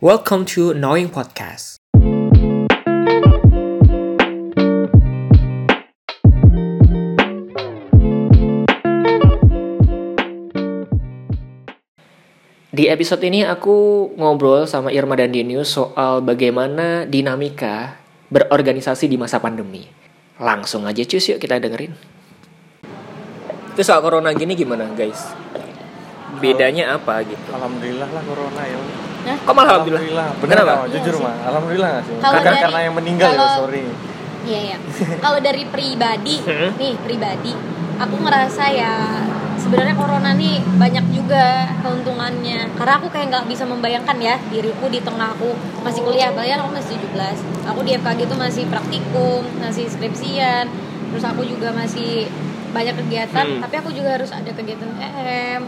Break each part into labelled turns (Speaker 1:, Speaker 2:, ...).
Speaker 1: Welcome to Knowing Podcast. Di episode ini aku ngobrol sama Irma dan Denius soal bagaimana dinamika berorganisasi di masa pandemi. Langsung aja cus yuk kita dengerin. Terus soal corona gini gimana guys? Bedanya apa gitu?
Speaker 2: Alhamdulillah lah corona ya.
Speaker 1: Kok malah alhamdulillah?
Speaker 2: Bener
Speaker 1: Kenapa?
Speaker 2: Pak?
Speaker 3: Iya
Speaker 2: Jujur
Speaker 3: sih.
Speaker 2: mah, alhamdulillah nggak sih.
Speaker 3: Kalau
Speaker 2: Karena
Speaker 3: dari-
Speaker 2: karena yang meninggal ya,
Speaker 3: kalau-
Speaker 2: sorry.
Speaker 3: Iya ya. Kalau dari pribadi,
Speaker 1: Hmm.
Speaker 3: nih pribadi, aku ngerasa ya sebenarnya corona nih banyak juga keuntungannya. Karena aku kayak nggak bisa membayangkan ya diriku di tengah aku masih kuliah, apalagi kan aku masih 17. Aku di FKG itu masih praktikum, masih skripsian, terus aku juga masih banyak kegiatan,
Speaker 1: Hmm.
Speaker 3: tapi aku juga harus ada kegiatan EM.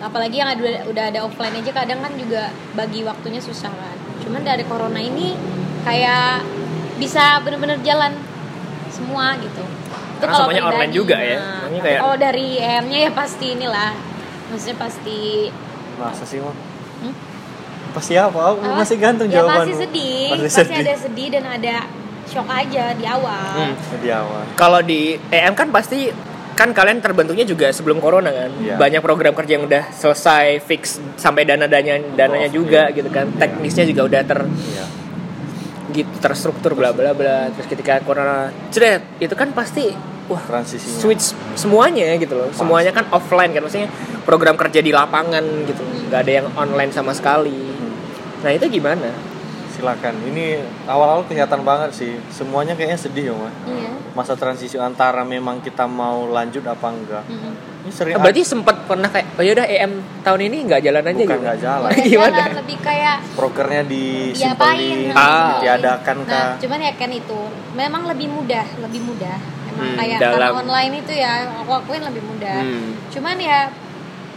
Speaker 3: Apalagi yang ada, udah ada offline aja kadang kan juga bagi waktunya susah kan. Cuman dari corona ini kayak bisa bener-bener jalan semua gitu. Itu
Speaker 1: Karena
Speaker 3: kalau
Speaker 1: semuanya online
Speaker 3: pribadi,
Speaker 1: juga ya.
Speaker 3: nah.
Speaker 1: Makanya kayak-
Speaker 3: Kalau dari EM-nya ya pasti inilah. Maksudnya pasti
Speaker 2: Masa sih mah?
Speaker 3: Hmm?
Speaker 2: Pasti apa? Aku
Speaker 3: apa?
Speaker 2: masih gantung
Speaker 3: ya,
Speaker 2: jawabanmu.
Speaker 3: Pasti sedih,
Speaker 2: Pasti
Speaker 3: pasti,
Speaker 2: sedih.
Speaker 3: ada sedih dan ada shock aja di awal.
Speaker 1: Hmm.
Speaker 2: Di awal.
Speaker 1: kalau di EM kan pasti kan kalian terbentuknya juga sebelum corona kan
Speaker 2: Iya.
Speaker 1: banyak program kerja yang udah selesai fix sampai dana dananya dananya
Speaker 2: Off,
Speaker 1: juga
Speaker 2: iya.
Speaker 1: gitu kan
Speaker 2: Iya.
Speaker 1: teknisnya juga udah ter
Speaker 2: Iya.
Speaker 1: gitu terstruktur bla bla bla terus ketika corona ceret itu kan pasti wah
Speaker 2: Transisinya.
Speaker 1: switch semuanya gitu loh semuanya kan offline kan maksudnya program kerja di lapangan gitu nggak ada yang online sama sekali
Speaker 2: Hmm.
Speaker 1: nah itu gimana
Speaker 2: Silakan. Ini awal-awal kelihatan banget sih. Semuanya kayaknya sedih ya, Mas.
Speaker 3: Iya.
Speaker 2: Masa transisi antara memang kita mau lanjut apa enggak.
Speaker 3: Mm-mm.
Speaker 2: Ini sering
Speaker 1: Ah, berarti sempat pernah kayak oh yaudah EM tahun ini nggak jalan aja
Speaker 2: bukan
Speaker 1: gitu
Speaker 2: nggak jalan.
Speaker 3: Bukan
Speaker 1: Gimana?
Speaker 3: jalan, kan, lebih kayak
Speaker 2: Prokernya
Speaker 3: diapain
Speaker 2: disimpelin,
Speaker 1: Ah.
Speaker 2: ditiadakan
Speaker 3: nah
Speaker 2: kah?
Speaker 3: cuman ya kan itu memang lebih mudah lebih mudah emang
Speaker 1: Hmm,
Speaker 3: kayak
Speaker 1: dalam-
Speaker 3: karena online itu ya aku akuin lebih mudah
Speaker 1: Hmm.
Speaker 3: cuman ya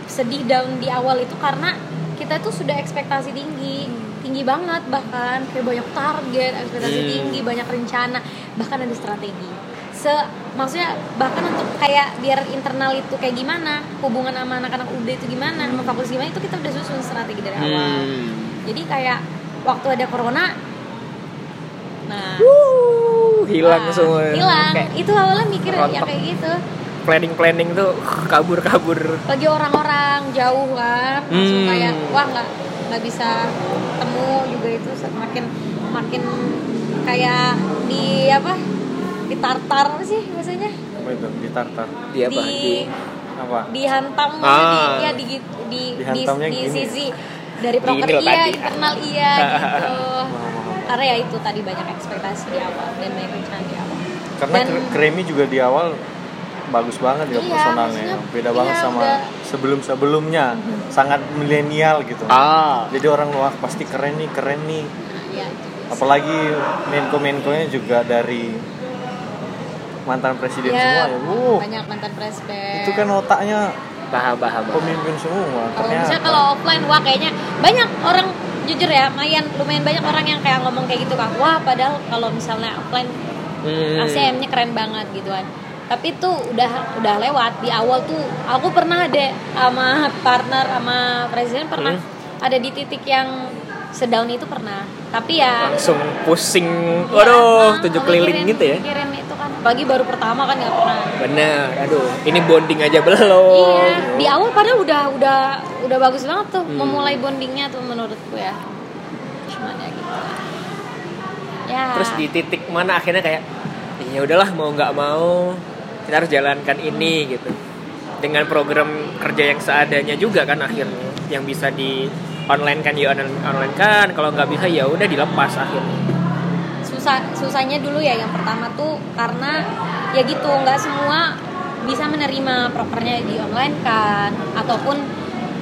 Speaker 3: sedih down di awal itu karena kita tuh sudah ekspektasi tinggi
Speaker 1: Hmm.
Speaker 3: tinggi banget bahkan kayak banyak target ekspektasi
Speaker 1: Hmm.
Speaker 3: tinggi banyak rencana bahkan ada strategi se maksudnya bahkan untuk kayak biar internal itu kayak gimana hubungan sama anak-anak UB itu gimana sama fakultas gimana itu kita udah susun strategi dari awal
Speaker 1: Hmm.
Speaker 3: jadi kayak waktu ada corona nah
Speaker 1: Wuh, hilang
Speaker 3: wah,
Speaker 1: semua.
Speaker 3: hilang
Speaker 1: Kayak
Speaker 3: itu awalnya mikir ya
Speaker 1: rontok.
Speaker 3: kayak gitu
Speaker 1: planning-planning tuh kabur-kabur.
Speaker 3: bagi orang-orang jauh kan langsung
Speaker 1: Hmm.
Speaker 3: kayak wah nggak nggak bisa ketemu juga itu makin makin kayak di apa ditartar apa sih biasanya
Speaker 2: Apa itu? Ditartar.
Speaker 1: Di apa?
Speaker 3: Di-
Speaker 1: Di
Speaker 2: Apa?
Speaker 3: dihantam
Speaker 1: Ah.
Speaker 3: di, ya di gitu- di di,
Speaker 2: Dihantamnya
Speaker 3: di
Speaker 2: gini.
Speaker 3: sisi dari
Speaker 1: Gini
Speaker 3: proker
Speaker 1: loh
Speaker 3: iya
Speaker 1: tadi.
Speaker 3: internal iya gitu
Speaker 2: Mahal-mahal.
Speaker 3: karena ya itu tadi banyak ekspektasi di awal dan banyak rencana di awal
Speaker 2: Karena
Speaker 3: Dan-
Speaker 2: kre- Kremi juga di awal bagus banget ya
Speaker 3: Iya,
Speaker 2: personalnya.
Speaker 3: maksudnya,
Speaker 2: Beda
Speaker 3: iya,
Speaker 2: banget sama
Speaker 3: udah. Mm-hmm.
Speaker 2: sebelum-sebelumnya. Sangat milenial gitu.
Speaker 1: Ah.
Speaker 2: Jadi orang luar pasti keren nih, keren nih.
Speaker 3: Nah, iya itu.
Speaker 2: Apalagi menko-menkonya juga dari mantan presiden semua
Speaker 3: Iya,
Speaker 2: ya. Wuh,
Speaker 3: banyak mantan presiden
Speaker 2: itu kan otaknya
Speaker 1: Paham, paham. paham.
Speaker 2: pemimpin semua.
Speaker 3: kalau misalnya
Speaker 2: Ternyata
Speaker 3: kalau offline wah kayaknya banyak orang jujur ya lumayan lumayan banyak orang yang kayak ngomong kayak gitu kan wah padahal kalau misalnya offline
Speaker 1: Hmm.
Speaker 3: ACM-nya keren banget gitu kan tapi itu udah udah lewat di awal tuh aku pernah ada sama partner sama presiden pernah
Speaker 1: Hmm.
Speaker 3: ada di titik yang sedown itu pernah tapi ya
Speaker 1: Langsung pusing.
Speaker 3: ya,
Speaker 1: Waduh,
Speaker 3: nah,
Speaker 1: tujuh
Speaker 3: kalau
Speaker 1: keliling
Speaker 3: mikirin-
Speaker 1: gitu ya.
Speaker 3: mikirin itu kan pagi baru pertama kan nggak pernah
Speaker 1: Bener, aduh. Ini bonding aja belum.
Speaker 3: iya di awal padahal udah udah udah bagus banget tuh
Speaker 1: Hmm.
Speaker 3: memulai bondingnya tuh menurutku ya cuman ya gitu lah. ya
Speaker 1: Terus di titik mana akhirnya kayak ya udahlah mau nggak mau kita harus jalankan ini gitu. Dengan program kerja yang seadanya juga kan akhirnya yang bisa di online kan ya online, online kan kalau nggak bisa ya udah dilepas akhirnya
Speaker 3: susah susahnya dulu ya yang pertama tuh karena ya gitu nggak semua bisa menerima prokernya di online kan ataupun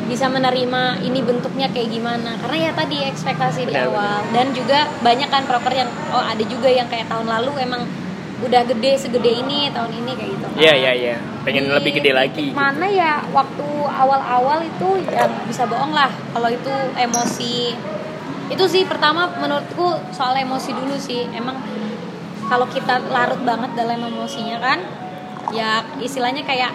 Speaker 3: bisa menerima ini bentuknya kayak gimana karena ya tadi ekspektasi di
Speaker 1: Benar,
Speaker 3: awal dan juga banyak kan proker yang oh ada juga yang kayak tahun lalu emang udah gede segede ini tahun ini kayak gitu kan.
Speaker 1: iya iya iya pengen
Speaker 3: Di
Speaker 1: lebih gede lagi
Speaker 3: titik mana ya waktu awal-awal itu ya bisa bohong lah kalau itu emosi itu sih pertama menurutku soal emosi dulu sih emang kalau kita larut banget dalam emosinya kan ya istilahnya kayak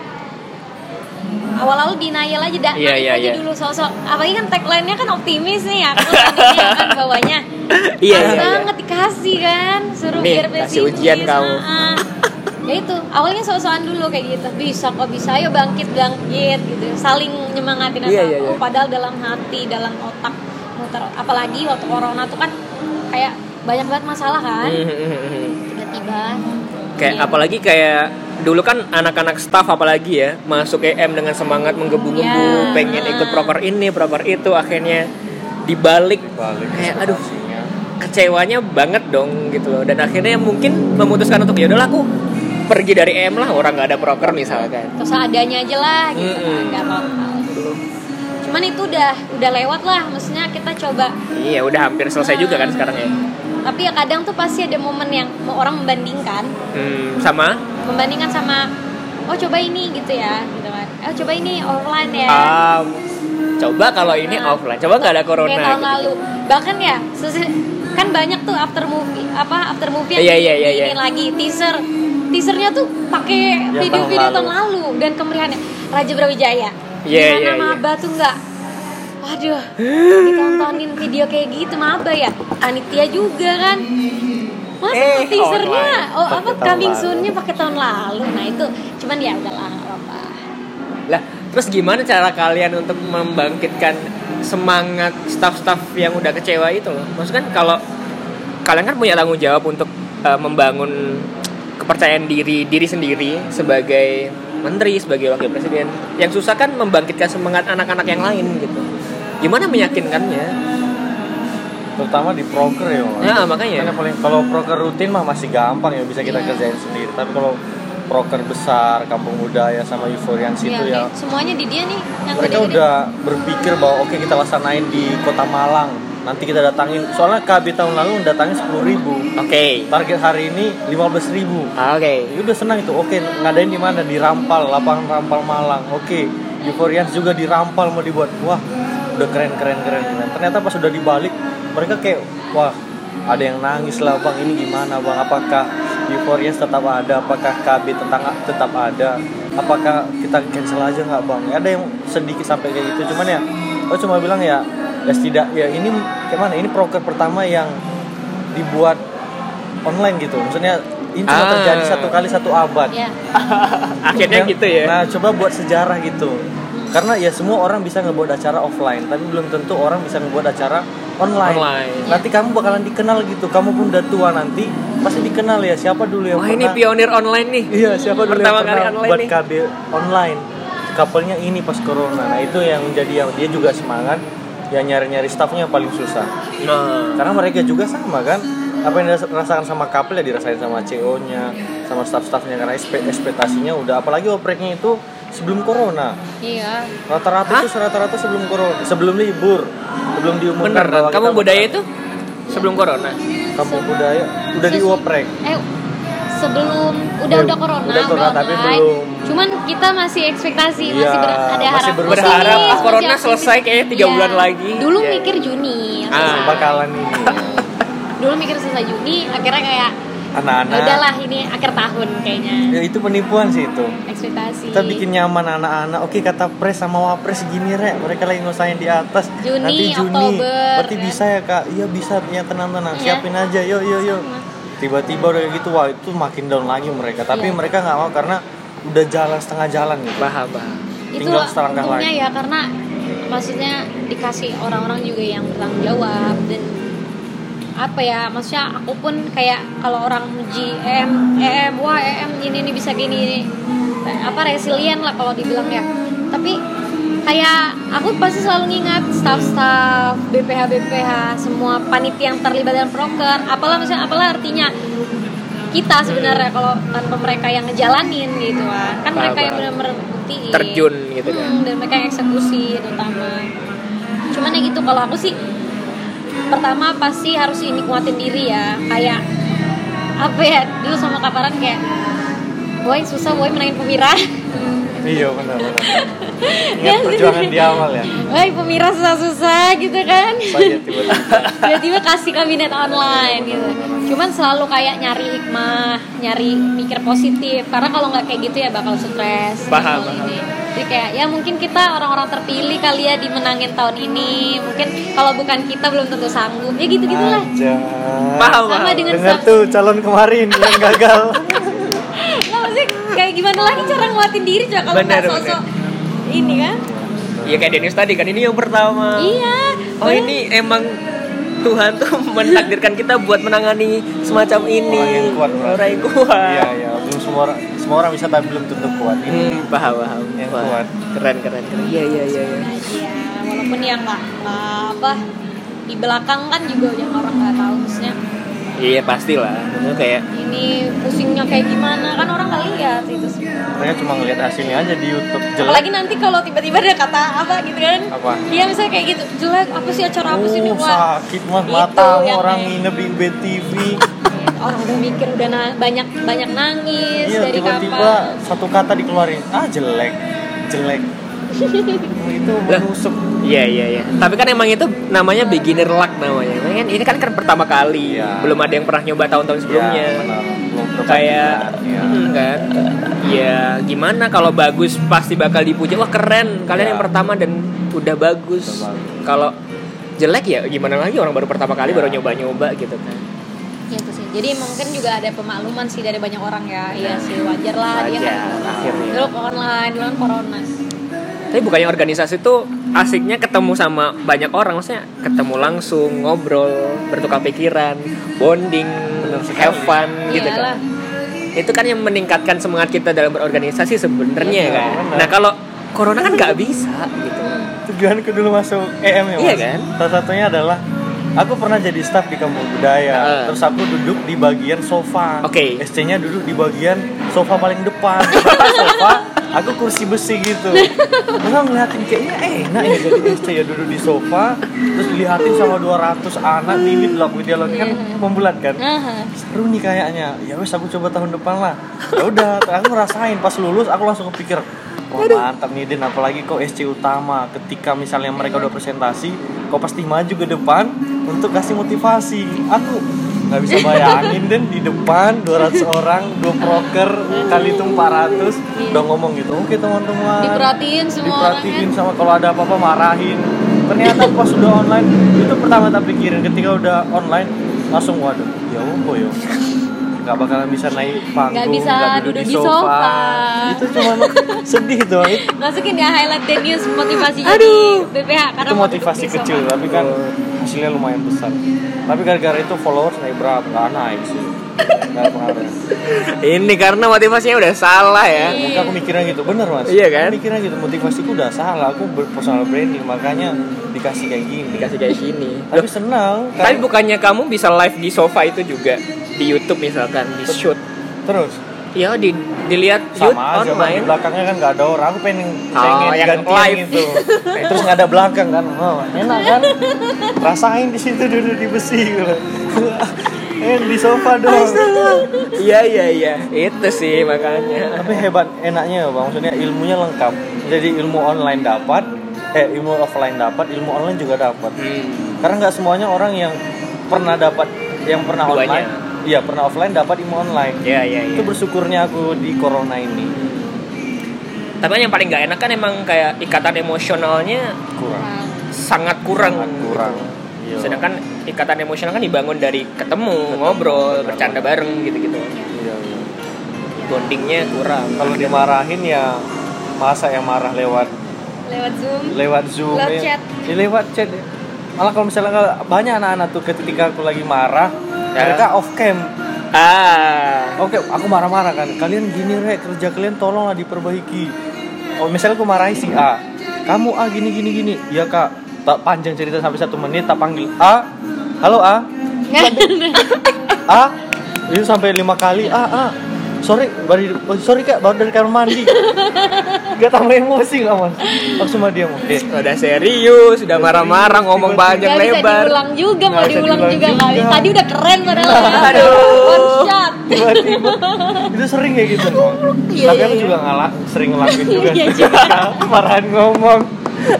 Speaker 3: awal-awal denial aja dah
Speaker 1: Iya,
Speaker 3: naik
Speaker 1: iya,
Speaker 3: aja
Speaker 1: iya.
Speaker 3: dulu sosok apalagi kan tagline-nya kan optimis nih ya aku tadinya
Speaker 1: Iya,
Speaker 3: Harus
Speaker 1: iya, iya.
Speaker 3: banget dikasih kan suruh
Speaker 1: Nih,
Speaker 3: biar besi
Speaker 1: kasih ujian kamu.
Speaker 3: ya itu awalnya so-soan dulu kayak gitu bisa kok bisa ayo bangkit bangkit gitu saling
Speaker 1: Iya,
Speaker 3: nyemangatin sama-
Speaker 1: iya, iya.
Speaker 3: oh, padahal dalam hati dalam otak muter apalagi waktu corona tuh kan kayak banyak banget masalah kan
Speaker 1: Mhm, mhm, mhm.
Speaker 3: tiba-tiba
Speaker 1: Kayak
Speaker 3: Iya.
Speaker 1: apalagi kayak dulu kan anak-anak staff apalagi ya masuk EM dengan semangat menggebu-gebu
Speaker 3: Ya.
Speaker 1: pengen ikut proker ini proker itu akhirnya dibalik
Speaker 2: balik
Speaker 1: Kayak, aduh.
Speaker 2: ekspektasinya.
Speaker 1: kecewanya banget dong gitu loh dan akhirnya mungkin memutuskan untuk ya udahlah aku pergi dari EM lah orang nggak ada proker misalkan
Speaker 3: terus adanya aja lah gitu
Speaker 1: Mm-mm.
Speaker 3: nggak apa-apa cuman itu udah udah lewat lah maksudnya kita coba
Speaker 1: iya udah hampir selesai juga kan sekarang ya
Speaker 3: tapi ya kadang tuh pasti ada momen yang mau orang membandingkan
Speaker 1: hmm, sama
Speaker 3: membandingkan sama oh coba ini gitu ya gitu kan oh coba ini offline ya
Speaker 1: um, coba kalau ini
Speaker 3: Nah,
Speaker 1: offline coba nggak ada corona
Speaker 3: kayak tahun
Speaker 1: gitu.
Speaker 3: lalu bahkan ya sesi- kan banyak tuh after movie apa after movie yang
Speaker 1: Iya, iya, iya, iya.
Speaker 3: diinin lagi teaser teasernya tuh pakai
Speaker 2: Ya,
Speaker 3: video-video
Speaker 2: tahun
Speaker 3: tahun lalu. dan kemeriahannya Raja Brawijaya
Speaker 1: Iya,
Speaker 3: Gimana
Speaker 1: iya, iya.
Speaker 3: maba tuh nggak Waduh, ditontonin video kayak gitu maba ya. Panitia juga kan. Masa
Speaker 1: Eh,
Speaker 3: tuh teasernya,
Speaker 1: online.
Speaker 3: oh
Speaker 2: Pakai
Speaker 3: apa
Speaker 2: tahun
Speaker 3: coming
Speaker 2: lalu.
Speaker 3: soon-nya pakai tahun lalu. Nah itu, cuman ya udahlah, nggak apa-apa.
Speaker 1: Lah, terus gimana cara kalian untuk membangkitkan semangat staff-staff yang udah kecewa itu loh? Maksudnya kan kalau kalian kan punya tanggung jawab untuk eh, membangun kepercayaan diri diri sendiri sebagai menteri, sebagai wakil presiden. Yang susah kan membangkitkan semangat anak-anak yang lain gitu. Gimana meyakinkannya?
Speaker 2: terutama di proker ya Mas.
Speaker 1: Ya, makanya.
Speaker 2: Karena paling kalau proker rutin mah masih gampang ya bisa kita
Speaker 3: Iya.
Speaker 2: kerjain sendiri tapi kalau proker besar kampung budaya sama euforian
Speaker 1: Gitu
Speaker 2: situ ya
Speaker 3: Iya, nih, semuanya di dia nih yang
Speaker 2: mereka
Speaker 3: gede-gede.
Speaker 2: udah berpikir bahwa oke kita laksanain di kota Malang nanti kita datangin soalnya KB tahun lalu datangin 10.000 ribu
Speaker 1: Oke.
Speaker 2: target hari ini 15.000 ribu
Speaker 1: Oke.
Speaker 2: Ya udah senang itu oke ngadain di mana di Rampal lapangan Rampal Malang oke Euforian juga di Rampal mau dibuat wah udah keren keren keren keren ternyata pas udah dibalik mereka kayak wah ada yang nangis lah bang ini gimana bang apakah Euforian tetap ada apakah KB tentang tetap ada apakah kita cancel aja nggak bang ada yang sedikit sampai kayak gitu cuman ya oh cuma bilang ya ya tidak ya ini gimana ini proker pertama yang dibuat online gitu maksudnya ini cuma
Speaker 1: Ah.
Speaker 2: terjadi satu kali satu abad
Speaker 3: Iya.
Speaker 1: Akhirnya
Speaker 2: Yang-
Speaker 1: gitu ya.
Speaker 2: Nah, coba buat sejarah gitu. Karena ya semua orang bisa ngebuat acara offline, tapi belum tentu orang bisa ngebuat acara online.
Speaker 1: Online.
Speaker 2: Nanti kamu bakalan dikenal gitu. Kamu pun udah tua nanti pasti dikenal ya siapa dulu yang
Speaker 1: Wah, ini
Speaker 2: pernah.
Speaker 1: pionir online nih.
Speaker 2: iya, siapa dulu
Speaker 1: Pertama
Speaker 2: yang pernah
Speaker 1: kali online
Speaker 2: buat
Speaker 1: nih.
Speaker 2: KB online. Kapalnya ini pas corona. Nah, itu yang menjadi yang dia juga semangat yang nyari-nyari staffnya yang paling susah.
Speaker 1: Nah.
Speaker 2: Karena mereka juga sama kan apa yang dirasakan sama couple ya dirasain sama CO-nya, sama staff-staffnya karena espe- ekspektasinya udah apalagi opreknya itu sebelum corona.
Speaker 3: Iya.
Speaker 1: Hah?
Speaker 2: Rata-rata itu rata-rata sebelum corona, sebelum libur, sebelum diumumkan
Speaker 1: Beneran,
Speaker 2: bahwa kita
Speaker 1: kamu
Speaker 2: bakal-
Speaker 1: budaya itu sebelum corona.
Speaker 2: kampung budaya udah
Speaker 3: Sus-
Speaker 2: dioprek.
Speaker 3: Eh, sebelum udah
Speaker 2: Ya,
Speaker 3: udah corona,
Speaker 2: udah corona, tapi
Speaker 3: online.
Speaker 2: belum.
Speaker 3: Cuman kita masih ekspektasi,
Speaker 2: Iya,
Speaker 3: masih ber- ada
Speaker 2: masih
Speaker 3: harapan.
Speaker 2: berusaha.
Speaker 1: Berharap
Speaker 2: Optimis,
Speaker 1: ah, corona
Speaker 3: masih
Speaker 1: selesai kayaknya
Speaker 3: optimis.
Speaker 1: tiga
Speaker 3: Iya.
Speaker 1: bulan lagi.
Speaker 3: Dulu
Speaker 1: Iya, iya.
Speaker 3: mikir Juni.
Speaker 1: Ah.
Speaker 3: selesai.
Speaker 2: Bakalan ini
Speaker 3: Dulu mikir selesai Juni, akhirnya kayak
Speaker 1: Nah.
Speaker 2: anak-anak.
Speaker 3: udahlah ini akhir tahun kayaknya.
Speaker 2: Ya itu penipuan sih itu.
Speaker 3: Ekspektasi.
Speaker 2: Kita bikin nyaman anak-anak. Oke, kata pres sama wapres gini, Rek. Mereka lagi ngusahain di atas.
Speaker 3: Juni,
Speaker 2: Nanti Juni.
Speaker 3: Oktober,
Speaker 2: Berarti
Speaker 3: kan?
Speaker 2: bisa ya, Kak? Iya, bisa. Ya tenang-tenang.
Speaker 3: Iya.
Speaker 2: Siapin aja. Yuk, yuk, yuk. Tiba-tiba udah kayak gitu, wah itu makin down lagi mereka. Tapi
Speaker 3: Iya.
Speaker 2: mereka nggak mau karena udah jalan setengah jalan gitu.
Speaker 1: Paham, paham.
Speaker 3: itu
Speaker 2: Tinggal selangkah
Speaker 3: untungnya
Speaker 2: lagi.
Speaker 3: ya karena maksudnya dikasih orang-orang juga yang bertanggung jawab dan apa ya maksudnya aku pun kayak kalau orang muji em em wah em ini ini bisa gini ini apa resilient lah kalau dibilang ya tapi kayak aku pasti selalu ngingat staff-staff BPH BPH semua panitia yang terlibat dalam proker apalah misalnya apalah artinya kita sebenarnya kalau tanpa mereka yang ngejalanin gitu kan kan mereka yang
Speaker 1: Paham.
Speaker 3: benar-benar buktiin
Speaker 1: Terjun gitu kan.
Speaker 3: Hmm, dan mereka yang eksekusi terutama cuman ya gitu kalau aku sih pertama pasti harus ini kuatin diri ya kayak apa ya dulu sama kaparan kayak boy susah boy menangin pemirah
Speaker 2: Iya, benar-benar.
Speaker 3: Iya,
Speaker 2: Ingat perjuangan di awal ya.
Speaker 3: boy pemirah susah-susah gitu kan
Speaker 2: Saya tiba-tiba.
Speaker 3: tiba-tiba kasih kabinet online gitu cuman selalu kayak nyari hikmah nyari mikir positif karena kalau nggak kayak gitu ya bakal stres
Speaker 1: Paham,
Speaker 3: bakal
Speaker 1: paham.
Speaker 3: ini. jadi kayak ya mungkin kita orang-orang terpilih kali ya dimenangin tahun ini mungkin kalau bukan kita belum tentu sanggup ya gitu gitulah
Speaker 2: Aja.
Speaker 1: Paham,
Speaker 3: sama
Speaker 1: paham.
Speaker 3: dengan
Speaker 2: Dengar
Speaker 3: sub-
Speaker 2: tuh calon kemarin yang gagal.
Speaker 3: Lah, maksudnya kayak gimana lagi cara nguatin diri juga kalau
Speaker 1: Benar,
Speaker 3: nggak sosok ini kan
Speaker 1: Iya kayak Dennis tadi kan ini yang pertama.
Speaker 3: iya
Speaker 1: Oh ini emang Tuhan tuh menakdirkan kita buat menangani semacam ini.
Speaker 2: Orang yang kuat, berarti.
Speaker 1: Orang yang kuat.
Speaker 2: Iya iya. Belum semua orang semua orang bisa tapi belum tentu kuat. Ini
Speaker 1: Hmm, paham paham.
Speaker 2: Yang
Speaker 1: Wah,
Speaker 2: kuat.
Speaker 1: Keren keren keren. Iya iya iya. iya.
Speaker 3: Iya, walaupun ya nggak nggak apa di belakang kan juga yang orang nggak tahu maksudnya
Speaker 1: Iya pastilah. Maksudnya kayak
Speaker 3: ini pusingnya kayak gimana kan orang nggak lihat itu semua.
Speaker 2: mereka cuma ngelihat hasilnya aja di YouTube jelek.
Speaker 3: Apalagi nanti kalau tiba-tiba ada kata apa gitu kan?
Speaker 2: Apa?
Speaker 3: Iya misalnya kayak gitu jelek apa sih acara apa sih ini
Speaker 2: Uh,
Speaker 3: wah
Speaker 2: sakit mah
Speaker 3: Itu
Speaker 2: mata
Speaker 3: yang
Speaker 2: orang
Speaker 3: kayak-
Speaker 2: nginep di BTV.
Speaker 3: orang udah mikir udah na- banyak banyak nangis
Speaker 2: Iya
Speaker 3: dari kapan?
Speaker 2: tiba-tiba satu kata dikeluarin. Ah jelek, jelek. itu
Speaker 1: Lah.
Speaker 2: menusuk.
Speaker 1: Iya iya iya. Tapi kan emang itu namanya beginner luck namanya. Ini kan ini kan kan pertama kali.
Speaker 2: Iya.
Speaker 1: Belum ada yang pernah nyoba tahun-tahun sebelumnya.
Speaker 2: Ya, benar. Belum perbandingan,
Speaker 1: kayak
Speaker 2: ya.
Speaker 1: hmm, kan ya gimana kalau bagus pasti bakal dipuja wah keren kalian
Speaker 2: Ya.
Speaker 1: yang pertama dan udah bagus
Speaker 2: Udah bagus.
Speaker 1: kalau jelek ya gimana lagi orang baru pertama kali
Speaker 2: Ya.
Speaker 1: baru nyoba nyoba gitu kan
Speaker 3: Ya, itu sih. Jadi mungkin juga ada pemakluman sih dari banyak orang ya. Iya sih wajar lah dia
Speaker 1: aja
Speaker 3: kan.
Speaker 1: akhirnya
Speaker 3: Dulu online, dulu kan corona.
Speaker 1: tapi bukannya organisasi tuh asiknya ketemu sama banyak orang maksudnya ketemu langsung ngobrol bertukar pikiran bonding
Speaker 2: Bener sekali.
Speaker 1: have fun gitu
Speaker 3: Iyalah.
Speaker 1: kan itu kan yang meningkatkan semangat kita dalam berorganisasi sebenarnya
Speaker 2: Iya,
Speaker 1: kan
Speaker 2: bener.
Speaker 1: nah kalau corona kan nggak bisa gitu
Speaker 2: tujuanku dulu masuk EM ya
Speaker 1: Iya
Speaker 2: Mas.
Speaker 1: kan?
Speaker 2: Salah satunya adalah aku pernah jadi staf di kampung budaya.
Speaker 1: Heeh.
Speaker 2: Terus aku duduk di bagian sofa.
Speaker 1: Oke.
Speaker 2: SC-nya duduk di bagian sofa paling depan. Atas sofa, aku kursi besi gitu. Terus aku ngeliatin kayaknya enak ya jadi SC ya duduk di sofa. Terus dilihatin sama 200 anak bibit lah aku dialog kan membulat kan.
Speaker 3: Aha.
Speaker 2: seru nih kayaknya ya wes aku coba tahun depan lah ya udah aku ngerasain pas lulus aku langsung kepikir wah mantap nih Din apalagi kau SC utama ketika misalnya mereka udah presentasi kau pasti maju ke depan untuk kasih motivasi aku nggak bisa bayangin Den di depan 200 orang dua proker kali itu 400 udah ngomong gitu oke teman-teman
Speaker 3: Diperhatiin semua orang ya.
Speaker 2: diperhatiin sama kalau ada apa-apa marahin ternyata pas sudah online itu pertama tak pikirin ketika udah online langsung waduh ya ombo yo nggak bakalan bisa naik panggung
Speaker 3: Nggak bisa duduk di sofa.
Speaker 2: itu cuma sedih tuh itu
Speaker 3: Masukin ya highlight the news motivasi jadi BPH karena mau duduk
Speaker 2: motivasi
Speaker 3: di sofa.
Speaker 2: kecil tapi kan hasilnya lumayan besar tapi gara-gara itu followers naik berapa nggak naik sih nggak pengaruh
Speaker 1: Ini karena motivasinya udah salah ya.
Speaker 2: Maka aku mikirnya gitu, bener mas
Speaker 1: Iya kan?
Speaker 2: Aku mikirnya gitu, motivasiku udah salah Aku ber- personal branding, makanya dikasih kayak gini
Speaker 1: Dikasih kayak gini.
Speaker 2: Tapi senang
Speaker 1: Tapi
Speaker 2: karena-
Speaker 1: bukannya kamu bisa live di sofa itu juga di YouTube misalkan di shoot.
Speaker 2: Terus
Speaker 1: Ya di dilihat shoot
Speaker 2: sama aja Bang. di
Speaker 1: online.
Speaker 2: belakangnya kan nggak ada orang. Aku pengen
Speaker 1: Oh,
Speaker 2: pengen
Speaker 1: yang
Speaker 2: gantian
Speaker 1: live.
Speaker 2: gitu. Terus nggak ada belakang kan. Oh, enak kan? Rasain di situ duduk di besi gitu. eh di sofa dong.
Speaker 1: Iya iya iya. Itu sih makanya.
Speaker 2: Tapi hebat enaknya ya, Bang. Maksudnya ilmunya lengkap. Jadi ilmu online dapat, eh ilmu offline dapat, ilmu online juga dapat.
Speaker 1: Hmm.
Speaker 2: Karena nggak semuanya orang yang pernah dapat yang pernah
Speaker 1: Duanya.
Speaker 2: online, iya pernah offline dapat ilmu online.
Speaker 1: Iya iya iya.
Speaker 2: Itu bersyukurnya aku di corona ini
Speaker 1: Tapi kan yang paling nggak enak kan emang kayak ikatan emosionalnya
Speaker 2: kurang.
Speaker 1: sangat kurang. Gitu.
Speaker 2: Sangat kurang. Iya.
Speaker 1: Sedangkan ikatan emosional kan dibangun dari ketemu, ngobrol, bercanda bareng gitu-gitu.
Speaker 2: Iya, iya.
Speaker 1: Bondingnya kurang.
Speaker 2: Kalau dimarahin ya masa yang marah lewat
Speaker 3: Lewat Zoom.
Speaker 2: lewat Zoom
Speaker 3: Lewat
Speaker 2: ya.
Speaker 3: chat.
Speaker 2: Ya, lewat chat. ya. Malah kalau misalnya nggak- banyak anak-anak tuh ketika aku lagi marah,
Speaker 1: Ya.
Speaker 2: mereka off cam.
Speaker 1: Ah.
Speaker 2: Oke, aku marah-marah kan. Kalian gini rek kerja kalian tolonglah diperbaiki. Oh, misalnya aku marahi si A. Kamu A gini gini gini. Iya kak. Tak panjang cerita sampai satu menit. Tak panggil A. Halo A. ah itu sampai lima kali ah ah sorry baru oh, sorry kak baru dari kamar mandi gak tambah emosi nggak mas langsung mah dia mau eh,
Speaker 1: Udah serius, udah marah-marah, ngomong panjang
Speaker 3: Gak bisa
Speaker 1: lebar.
Speaker 3: diulang juga, mau
Speaker 2: Nggak bisa
Speaker 3: diulang
Speaker 2: diulang
Speaker 3: juga kali.
Speaker 2: juga.
Speaker 3: Tadi udah keren padahal. ya.
Speaker 1: Aduh.
Speaker 3: One shot.
Speaker 2: tiba-tiba itu sering ya gitu Bang.
Speaker 3: Iya,
Speaker 2: tapi
Speaker 3: iya,
Speaker 2: aku
Speaker 3: iya.
Speaker 2: juga ngalah sering ngelakuin juga
Speaker 3: Iya juga.
Speaker 2: marahan ngomong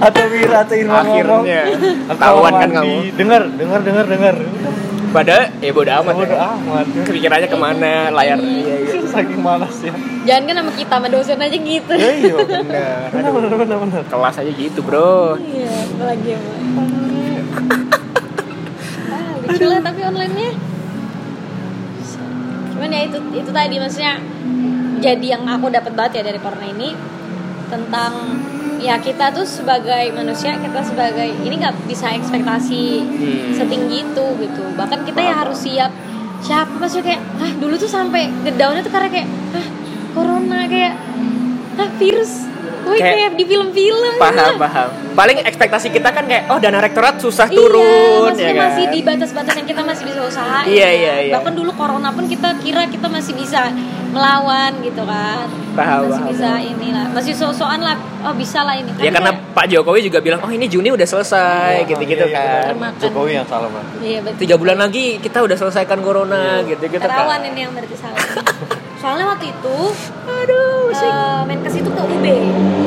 Speaker 2: atau Wira atau Irma ngomong
Speaker 1: Akhirnya
Speaker 2: Aku
Speaker 1: ketahuan kan
Speaker 2: mandi.
Speaker 1: kamu.
Speaker 2: dengar dengar dengar dengar
Speaker 1: Padahal ya bodo amat
Speaker 2: Bodo
Speaker 1: ya.
Speaker 2: amat.
Speaker 1: Kepikirannya kemana, layar. Iya, iya.
Speaker 2: ah, Saking malas ya.
Speaker 3: Jangan kan sama kita sama dosen aja gitu.
Speaker 1: Ya, iya bener.
Speaker 2: Benar benar benar benar.
Speaker 1: Kelas aja gitu bro.
Speaker 3: Iya, apalagi ya, Bu? Ah, lucu lah tapi online-nya. Cuman ya itu itu tadi maksudnya jadi yang aku dapat banget ya dari corona ini tentang ya kita tuh sebagai manusia kita sebagai ini nggak bisa ekspektasi
Speaker 1: Hmm.
Speaker 3: setinggi itu gitu bahkan kita ya harus siap siap maksudnya kayak ah dulu tuh sampai gedaunnya tuh karena kayak ah corona kayak ah virus Wih,
Speaker 1: Kayak-
Speaker 3: kayak, di film-film
Speaker 1: Paham, paham. Paling ekspektasi kita kan kayak, oh dana rektorat susah turun.
Speaker 3: iya, maksudnya
Speaker 1: ya kan?
Speaker 3: masih di batas-batas yang kita masih bisa usaha
Speaker 1: Iya, iya, iya.
Speaker 3: bahkan dulu corona pun kita kira kita masih bisa melawan gitu kan
Speaker 1: Paham,
Speaker 3: masih
Speaker 1: paham,
Speaker 3: bisa
Speaker 1: paham.
Speaker 3: inilah masih so-soan lah oh bisa lah ini
Speaker 1: Ya karena Pak Jokowi juga bilang, oh ini Juni udah selesai, gitu-gitu
Speaker 2: Iya, iya,
Speaker 1: kan.
Speaker 2: benar.
Speaker 3: Makan.
Speaker 2: Jokowi yang salah banget.
Speaker 3: kayak- iya betul
Speaker 1: Tiga bulan lagi kita udah selesaikan corona,
Speaker 2: Iya,
Speaker 1: gitu-gitu kan.
Speaker 3: Terawan ini yang berarti salah soalnya waktu itu aduh uh, Menkes itu ke UB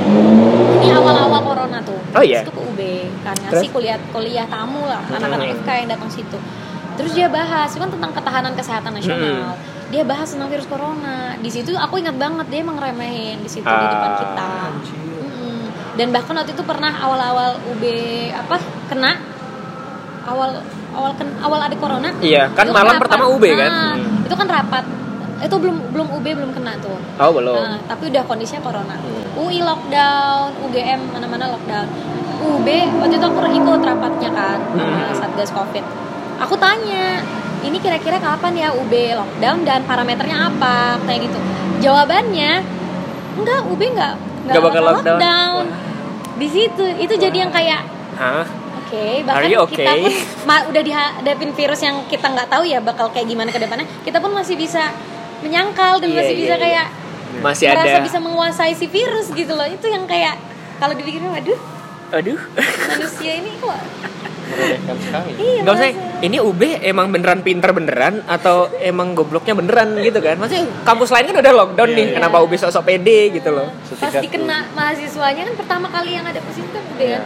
Speaker 3: ini awal-awal corona tuh
Speaker 1: Oh, iya?
Speaker 3: Terus itu ke UB kan
Speaker 1: Terus?
Speaker 3: ngasih kuliah kuliah tamu lah anak-anak
Speaker 1: Hmm.
Speaker 3: FK yang datang situ terus dia bahas itu kan tentang ketahanan kesehatan
Speaker 1: Hmm.
Speaker 3: nasional dia bahas tentang virus corona di situ aku ingat banget dia emang ngeremehin di situ di depan
Speaker 1: Ah.
Speaker 3: kita Mm-mm. dan bahkan waktu itu pernah awal-awal UB apa kena awal awal ken- awal ada corona
Speaker 1: Iya, kan
Speaker 3: itu
Speaker 1: malam
Speaker 3: rapat.
Speaker 1: pertama UB kan.
Speaker 3: Nah,
Speaker 1: Hmm.
Speaker 3: itu kan rapat itu belum belum UB belum kena tuh
Speaker 1: Oh belum. Hmm.
Speaker 3: Nah, tapi udah kondisinya corona UI lockdown UGM mana-mana lockdown UB waktu itu aku ikut rapatnya kan sama
Speaker 1: Hmm.
Speaker 3: satgas covid aku tanya ini kira-kira kapan ya UB lockdown dan parameternya apa kayak gitu jawabannya enggak UB enggak
Speaker 1: Nggak bakal lockdown.
Speaker 3: di situ itu jadi yang kayak
Speaker 1: Hah?
Speaker 2: Iya.
Speaker 3: Oke, bahkan
Speaker 1: Are you
Speaker 3: kita
Speaker 1: okay?
Speaker 3: pun ma- udah dihadapin virus yang kita nggak tahu ya bakal kayak gimana ke depannya. Kita pun masih bisa menyangkal dan
Speaker 1: Iya,
Speaker 3: masih
Speaker 1: iya,
Speaker 3: bisa
Speaker 1: iya.
Speaker 3: kayak
Speaker 1: Masih
Speaker 3: merasa
Speaker 1: ada.
Speaker 3: bisa menguasai si virus gitu loh. Itu yang kayak kalau dipikirin waduh,
Speaker 1: Aduh.
Speaker 3: manusia ini kok
Speaker 2: Meremehkan sekali.
Speaker 3: iya
Speaker 1: Gak usah.
Speaker 3: merasa-
Speaker 1: Ini UB emang beneran pinter beneran atau emang gobloknya beneran gitu kan? Maksudnya kampus lain kan udah lockdown
Speaker 2: Iya,
Speaker 1: nih,
Speaker 2: iya.
Speaker 1: kenapa UB sok-sok pede gitu loh?
Speaker 3: pas dikena mahasiswanya kan pertama kali yang ada positif kan udah
Speaker 2: Iya.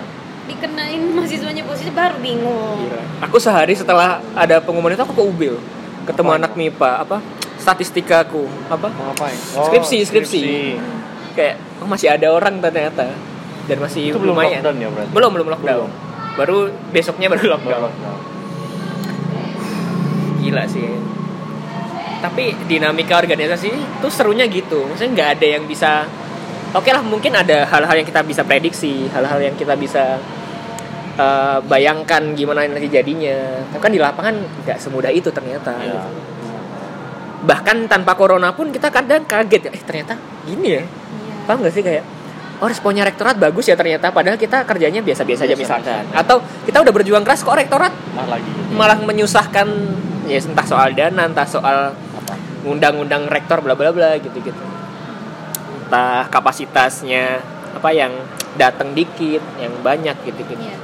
Speaker 3: dikenain mahasiswanya positif baru bingung.
Speaker 1: Aku sehari setelah ada pengumuman itu aku ke UB loh. ketemu
Speaker 2: Apa
Speaker 1: anak MIPA apa statistikaku apa
Speaker 2: Mau ngapain?
Speaker 1: Skripsi, Oh, skripsi. kayak oh, masih ada orang ternyata dan masih
Speaker 2: Itu belum
Speaker 1: lumayan
Speaker 2: lockdown ya berarti?
Speaker 1: belum belum lockdown baru besoknya baru
Speaker 2: Belum
Speaker 1: lockdown
Speaker 2: lockdown.
Speaker 1: gila sih tapi dinamika organisasi itu serunya gitu maksudnya nggak ada yang bisa oke lah mungkin ada hal-hal yang kita bisa prediksi hal-hal yang kita bisa eh, bayangkan gimana nanti jadinya tapi kan di lapangan nggak semudah itu ternyata gitu.
Speaker 2: Iya.
Speaker 1: bahkan tanpa corona pun kita kadang kaget eh ternyata gini ya
Speaker 3: Iya.
Speaker 1: paham gak sih kayak oh responnya rektorat bagus ya ternyata padahal kita kerjanya biasa-biasa aja
Speaker 2: Biasa-biasa.
Speaker 1: misalkan atau kita udah berjuang keras kok rektorat
Speaker 2: Nah lagi.
Speaker 1: malah menyusahkan ya entah soal dana entah soal
Speaker 2: Apa?
Speaker 1: ngundang-undang rektor bla bla bla gitu gitu entah kapasitasnya apa yang datang dikit yang banyak gitu gitu
Speaker 3: Iya.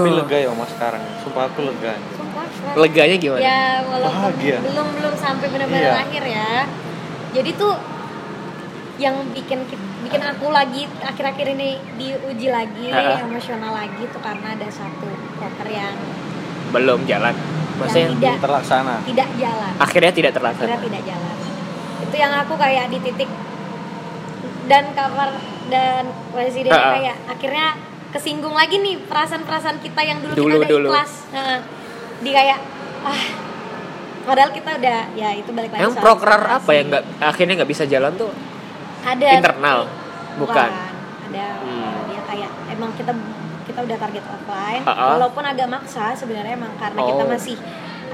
Speaker 2: Tapi lega ya mas sekarang. Sumpah aku lega.
Speaker 3: Sumpah, keren.
Speaker 1: leganya gimana
Speaker 3: Ya walaupun
Speaker 2: Bahagia.
Speaker 3: belum belum sampai benar-benar
Speaker 2: Iya.
Speaker 3: akhir ya. Jadi tuh yang bikin bikin aku lagi akhir-akhir ini diuji lagi
Speaker 1: Ha-ha.
Speaker 3: emosional lagi tuh karena ada satu proker yang
Speaker 1: belum jalan maksudnya
Speaker 3: yang tidak
Speaker 2: Terlaksana.
Speaker 3: tidak jalan
Speaker 1: akhirnya tidak terlaksana
Speaker 3: akhirnya tidak jalan itu yang aku kayak di titik dan kabar dan presiden
Speaker 1: Ha-ha.
Speaker 3: kayak akhirnya kesinggung lagi nih perasaan-perasaan kita yang dulu,
Speaker 1: Dulu,
Speaker 3: kita udah
Speaker 1: dulu.
Speaker 3: ikhlas Heeh. di kayak ah padahal kita udah ya itu balik lagi
Speaker 1: yang
Speaker 3: soal
Speaker 1: proker apa
Speaker 3: ekspektasi.
Speaker 1: yang nggak akhirnya nggak bisa jalan tuh
Speaker 3: ada
Speaker 1: internal bukan
Speaker 3: ada
Speaker 1: Hmm.
Speaker 3: dia kayak emang kita kita udah target offline
Speaker 1: Ha-ha.
Speaker 3: walaupun agak maksa sebenarnya emang karena kita
Speaker 1: Oh.
Speaker 3: masih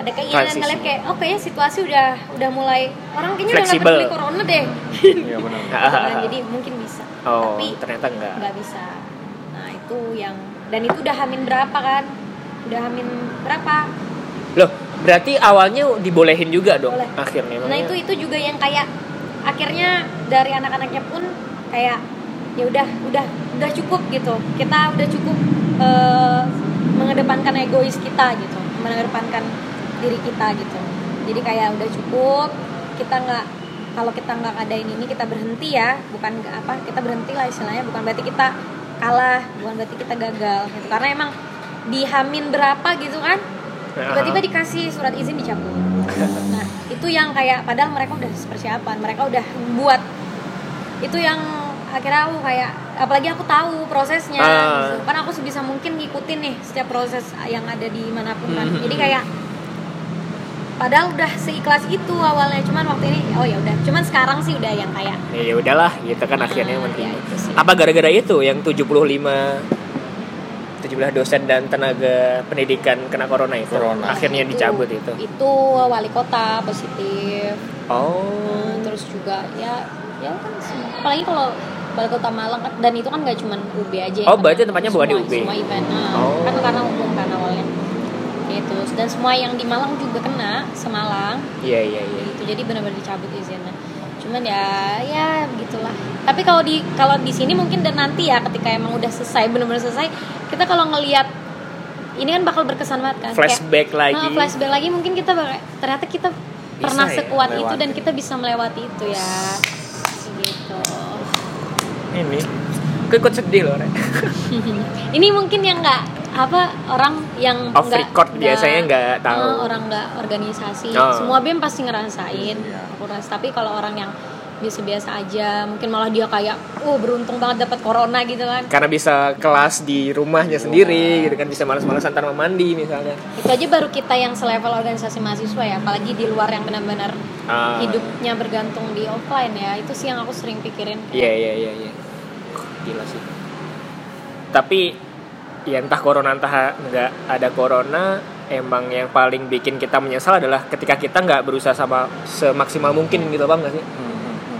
Speaker 3: ada keinginan
Speaker 1: Transisi.
Speaker 3: ngeliat kayak oh kayaknya situasi udah udah mulai orang kayaknya udah
Speaker 1: Fleksibel.
Speaker 3: nggak peduli corona deh
Speaker 2: Iya benar.
Speaker 1: Ah,
Speaker 3: Gitu kan, jadi mungkin bisa
Speaker 1: oh
Speaker 3: tapi
Speaker 1: ternyata nggak
Speaker 3: nggak bisa nah itu yang dan itu udah hamin berapa kan udah hamin berapa
Speaker 1: Loh, berarti awalnya dibolehin juga dong
Speaker 3: Boleh.
Speaker 1: akhirnya.
Speaker 3: nah
Speaker 1: makanya.
Speaker 3: itu itu juga yang kayak akhirnya dari anak-anaknya pun kayak ya udah udah udah cukup gitu kita udah cukup eh, mengedepankan egois kita gitu mengedepankan diri kita gitu jadi kayak udah cukup kita nggak kalau kita nggak adain ini kita berhenti ya bukan nggak apa kita berhenti lah istilahnya bukan berarti kita kalah bukan berarti kita gagal gitu karena emang di hamin berapa gitu kan tiba-tiba dikasih surat izin dicabut nah itu yang kayak padahal mereka udah persiapan mereka udah buat itu yang akhirnya aku kayak apalagi aku tahu prosesnya
Speaker 1: Ah.
Speaker 3: gitu. kan aku sebisa mungkin ngikutin nih setiap proses yang ada di manapun kan
Speaker 1: Mhm.
Speaker 3: jadi kayak padahal udah seikhlas itu awalnya cuman waktu ini oh ya udah cuman sekarang sih udah yang kayak
Speaker 1: ya ya udahlah gitu kan akhirnya
Speaker 3: Ah,
Speaker 1: menerima
Speaker 3: ya, itu sih.
Speaker 1: apa gara-gara itu yang 75 17 dosen dan tenaga pendidikan kena corona Iya. itu
Speaker 2: Corona.
Speaker 1: akhirnya dicabut itu
Speaker 3: itu wali kota positif
Speaker 1: oh
Speaker 3: Eh, terus juga ya ya kan semua- apalagi kalau wali kota Malang kan- dan itu kan gak cuman UB aja ya,
Speaker 1: Oh,
Speaker 3: karena
Speaker 1: berarti tempatnya bukan di
Speaker 3: semua-
Speaker 1: UB?
Speaker 3: semua event nah,
Speaker 1: Oh.
Speaker 3: kan karena umum kan awalnya gitu dan semua yang di Malang juga kena semalang
Speaker 1: iya iya iya
Speaker 3: gitu jadi benar-benar dicabut izinnya cuman ya ya begitulah tapi kalau di kalau di sini mungkin dan nanti ya ketika emang udah selesai benar-benar selesai kita kalau ngelihat ini kan bakal berkesan banget kan
Speaker 1: Oh,
Speaker 3: Kayak-
Speaker 1: flashback lagi
Speaker 3: Nah, flashback lagi mungkin kita bak- ternyata kita pernah
Speaker 1: ya,
Speaker 3: sekuat itu
Speaker 2: melewati.
Speaker 3: dan kita bisa melewati itu ya. Gitu.
Speaker 2: ini
Speaker 1: Aku ikut sedih loh Rek.
Speaker 3: Ini mungkin yang nggak apa orang yang
Speaker 1: off
Speaker 3: nggak-
Speaker 1: record biasanya nggak tahu
Speaker 3: eh, orang nggak organisasi.
Speaker 1: Oh.
Speaker 3: Semua BEM pasti ngerasain.
Speaker 2: Iya.
Speaker 3: aku rasa. Tapi kalau orang yang biasa-biasa aja, mungkin malah dia kayak, "Oh, beruntung banget dapat corona gitu kan."
Speaker 1: karena bisa kelas di rumahnya sendiri gitu kan bisa malas-malasan tanpa mandi misalnya
Speaker 3: Itu aja baru kita yang selevel organisasi mahasiswa ya, apalagi di luar yang benar-benar
Speaker 1: Ah.
Speaker 3: hidupnya bergantung di offline ya. Itu sih yang aku sering pikirin.
Speaker 1: Iya iya iya iya. Gila sih. Tapi ya entah corona entah nggak ada corona emang yang paling bikin kita menyesal adalah ketika kita nggak berusaha sama semaksimal mungkin gitu bang nggak sih?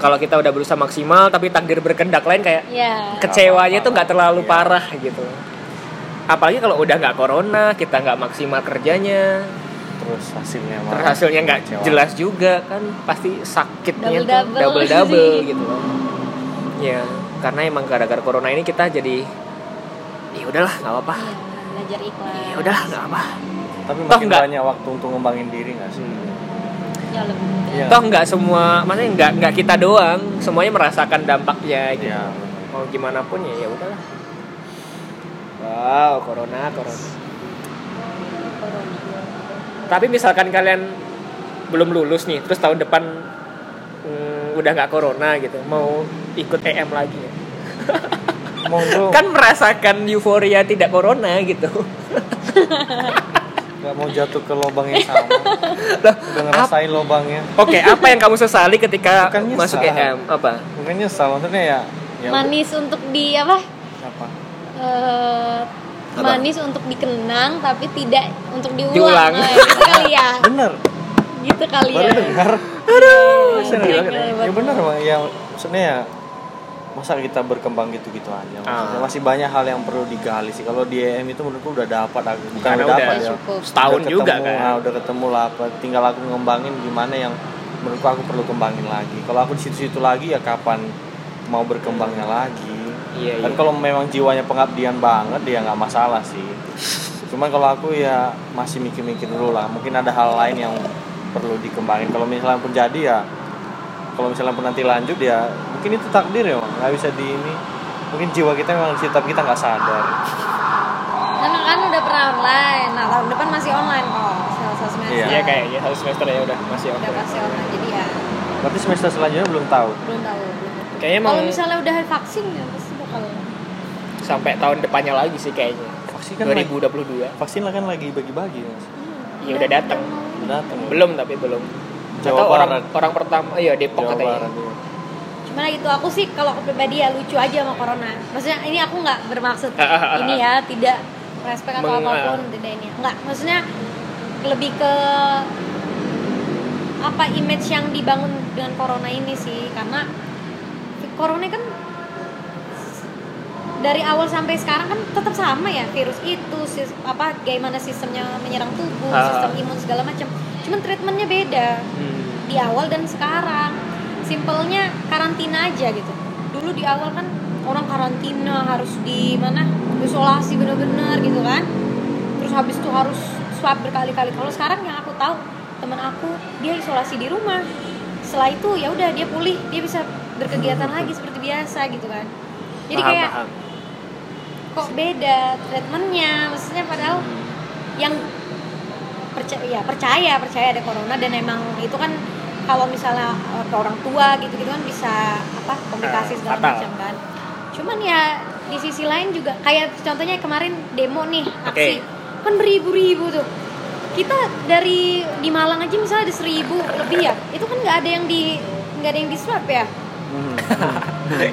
Speaker 1: Kalau kita udah berusaha maksimal tapi takdir berkendak lain kayak
Speaker 3: Ya.
Speaker 1: kecewanya tuh nggak terlalu
Speaker 2: Iya.
Speaker 1: parah gitu. Apalagi kalau udah nggak corona kita nggak maksimal kerjanya,
Speaker 2: terus hasilnya
Speaker 1: terus
Speaker 2: malah
Speaker 1: hasilnya nggak
Speaker 2: kecewa.
Speaker 1: jelas juga kan pasti sakitnya
Speaker 3: Double-double.
Speaker 1: double double gitu loh ya karena emang gara-gara corona ini kita jadi ya udahlah nggak apa-apa
Speaker 3: Iya, belajar ikhlas.
Speaker 2: Iya,
Speaker 1: ya udahlah nggak apa
Speaker 2: tapi
Speaker 1: Toh
Speaker 2: makin
Speaker 1: nggak- Hmm.
Speaker 2: banyak waktu untuk ngembangin diri nggak sih
Speaker 3: Ya lebih mudah.
Speaker 2: Iya.
Speaker 1: toh nggak semua maksudnya nggak nggak kita doang semuanya merasakan dampaknya gitu
Speaker 2: Iya.
Speaker 1: mau gimana pun ya ya udahlah wow corona corona tapi misalkan kalian belum lulus nih terus tahun depan mm, udah nggak corona gitu mau ikut EM lagi ya
Speaker 2: monggo
Speaker 1: kan merasakan euforia tidak corona gitu
Speaker 2: nggak mau jatuh ke lubang yang sama
Speaker 1: Loh,
Speaker 2: udah ngerasain lubangnya
Speaker 1: oke apa yang kamu sesali ketika
Speaker 2: Bukan Kan nyesal.
Speaker 1: masuk EM apa
Speaker 2: bukan nyesal maksudnya ya ya
Speaker 3: Manis untuk di apa?
Speaker 2: apa
Speaker 3: Eh,
Speaker 1: Apa?
Speaker 3: manis untuk dikenang tapi tidak untuk diulang.
Speaker 1: Diulang.
Speaker 3: Nah, gitu kali ya.
Speaker 2: bener
Speaker 3: Gitu kali
Speaker 2: baru
Speaker 3: ya.
Speaker 2: dengar
Speaker 3: Aduh,
Speaker 2: Bener,
Speaker 3: gagal
Speaker 2: ya,
Speaker 3: banget. Iya,
Speaker 2: ya bener bang ya maksudnya ya masa kita berkembang gitu-gitu aja maksudnya
Speaker 1: Ah.
Speaker 2: masih banyak hal yang perlu digali sih kalau di EM itu menurutku udah dapat aku bukan
Speaker 1: Karena
Speaker 2: udah
Speaker 1: udah
Speaker 2: dapat ya
Speaker 3: cukup.
Speaker 1: setahun
Speaker 2: Udah ketemu,
Speaker 1: juga kan
Speaker 2: ah, udah ketemu lah apa tinggal aku ngembangin gimana yang menurutku aku perlu kembangin lagi kalau aku di situ-situ lagi ya kapan mau berkembangnya lagi
Speaker 1: Iya,
Speaker 2: kan
Speaker 1: iya.
Speaker 2: kalau memang jiwanya pengabdian banget ya nggak masalah sih cuman kalau aku ya masih mikir-mikir dulu lah mungkin ada hal lain yang perlu dikembangin kalau misalnya pun jadi ya kalau misalnya pun nanti lanjut ya mungkin itu takdir ya Bang. nggak bisa di ini mungkin jiwa kita memang di situ tapi kita nggak sadar
Speaker 3: Kan kan udah pernah online. Nah, tahun depan masih online kok. Selasa semester.
Speaker 2: Iya.
Speaker 1: Iya, kayaknya harus semester ya udah masih oke
Speaker 3: Udah pasti online. Jadi ya
Speaker 2: berarti semester selanjutnya belum tahu
Speaker 3: belum tahu. belum tahu.
Speaker 1: kayaknya emang
Speaker 3: Kalau misalnya udah vaksin ya pasti bakal
Speaker 1: sampai tahun depannya lagi sih kayaknya
Speaker 2: vaksin kan lagi-
Speaker 1: 2022
Speaker 2: vaksin lah kan lagi bagi-bagi Mas. Iya,
Speaker 1: ya udah
Speaker 3: Iya,
Speaker 1: datang
Speaker 2: datang
Speaker 1: belum tapi belum
Speaker 2: Jawa
Speaker 1: atau orang
Speaker 2: Barat.
Speaker 1: orang pertama iya Depok
Speaker 2: Jawa
Speaker 1: katanya
Speaker 2: Barat ya.
Speaker 3: Cuman gitu aku sih kalau aku pribadi ya lucu aja sama corona. Maksudnya ini aku nggak bermaksud
Speaker 1: Ah, ah, ah,
Speaker 3: ini ya tidak respek atau
Speaker 1: Meng-
Speaker 3: apapun
Speaker 1: ah.
Speaker 3: tidak ini. Enggak, maksudnya lebih ke apa image yang dibangun dengan corona ini sih karena corona kan dari awal sampai sekarang kan tetap sama ya virus itu sis- apa gimana sistemnya menyerang tubuh
Speaker 1: Ah.
Speaker 3: sistem imun segala macam cuman treatmentnya beda
Speaker 1: Hmm.
Speaker 3: di awal dan sekarang simpelnya karantina aja gitu dulu di awal kan orang karantina harus di mana isolasi bener-bener gitu kan terus habis itu harus swab berkali-kali kalau sekarang yang aku tahu teman aku dia isolasi di rumah setelah itu ya udah dia pulih dia bisa berkegiatan lagi seperti biasa gitu kan jadi
Speaker 1: Paham,
Speaker 3: kayak
Speaker 1: paham.
Speaker 3: kok beda treatmentnya maksudnya padahal yang percaya ya percaya percaya ada corona dan emang itu kan kalau misalnya eh, ke orang tua gitu gitu kan bisa apa komplikasi
Speaker 2: Eh,
Speaker 3: segala
Speaker 2: fatal.
Speaker 3: macam kan cuman ya di sisi lain juga kayak contohnya kemarin demo nih aksi kan beribu-ribu tuh kita dari di Malang aja misalnya ada seribu lebih ya itu kan nggak ada yang di nggak ada yang di swab ya
Speaker 2: Hmm.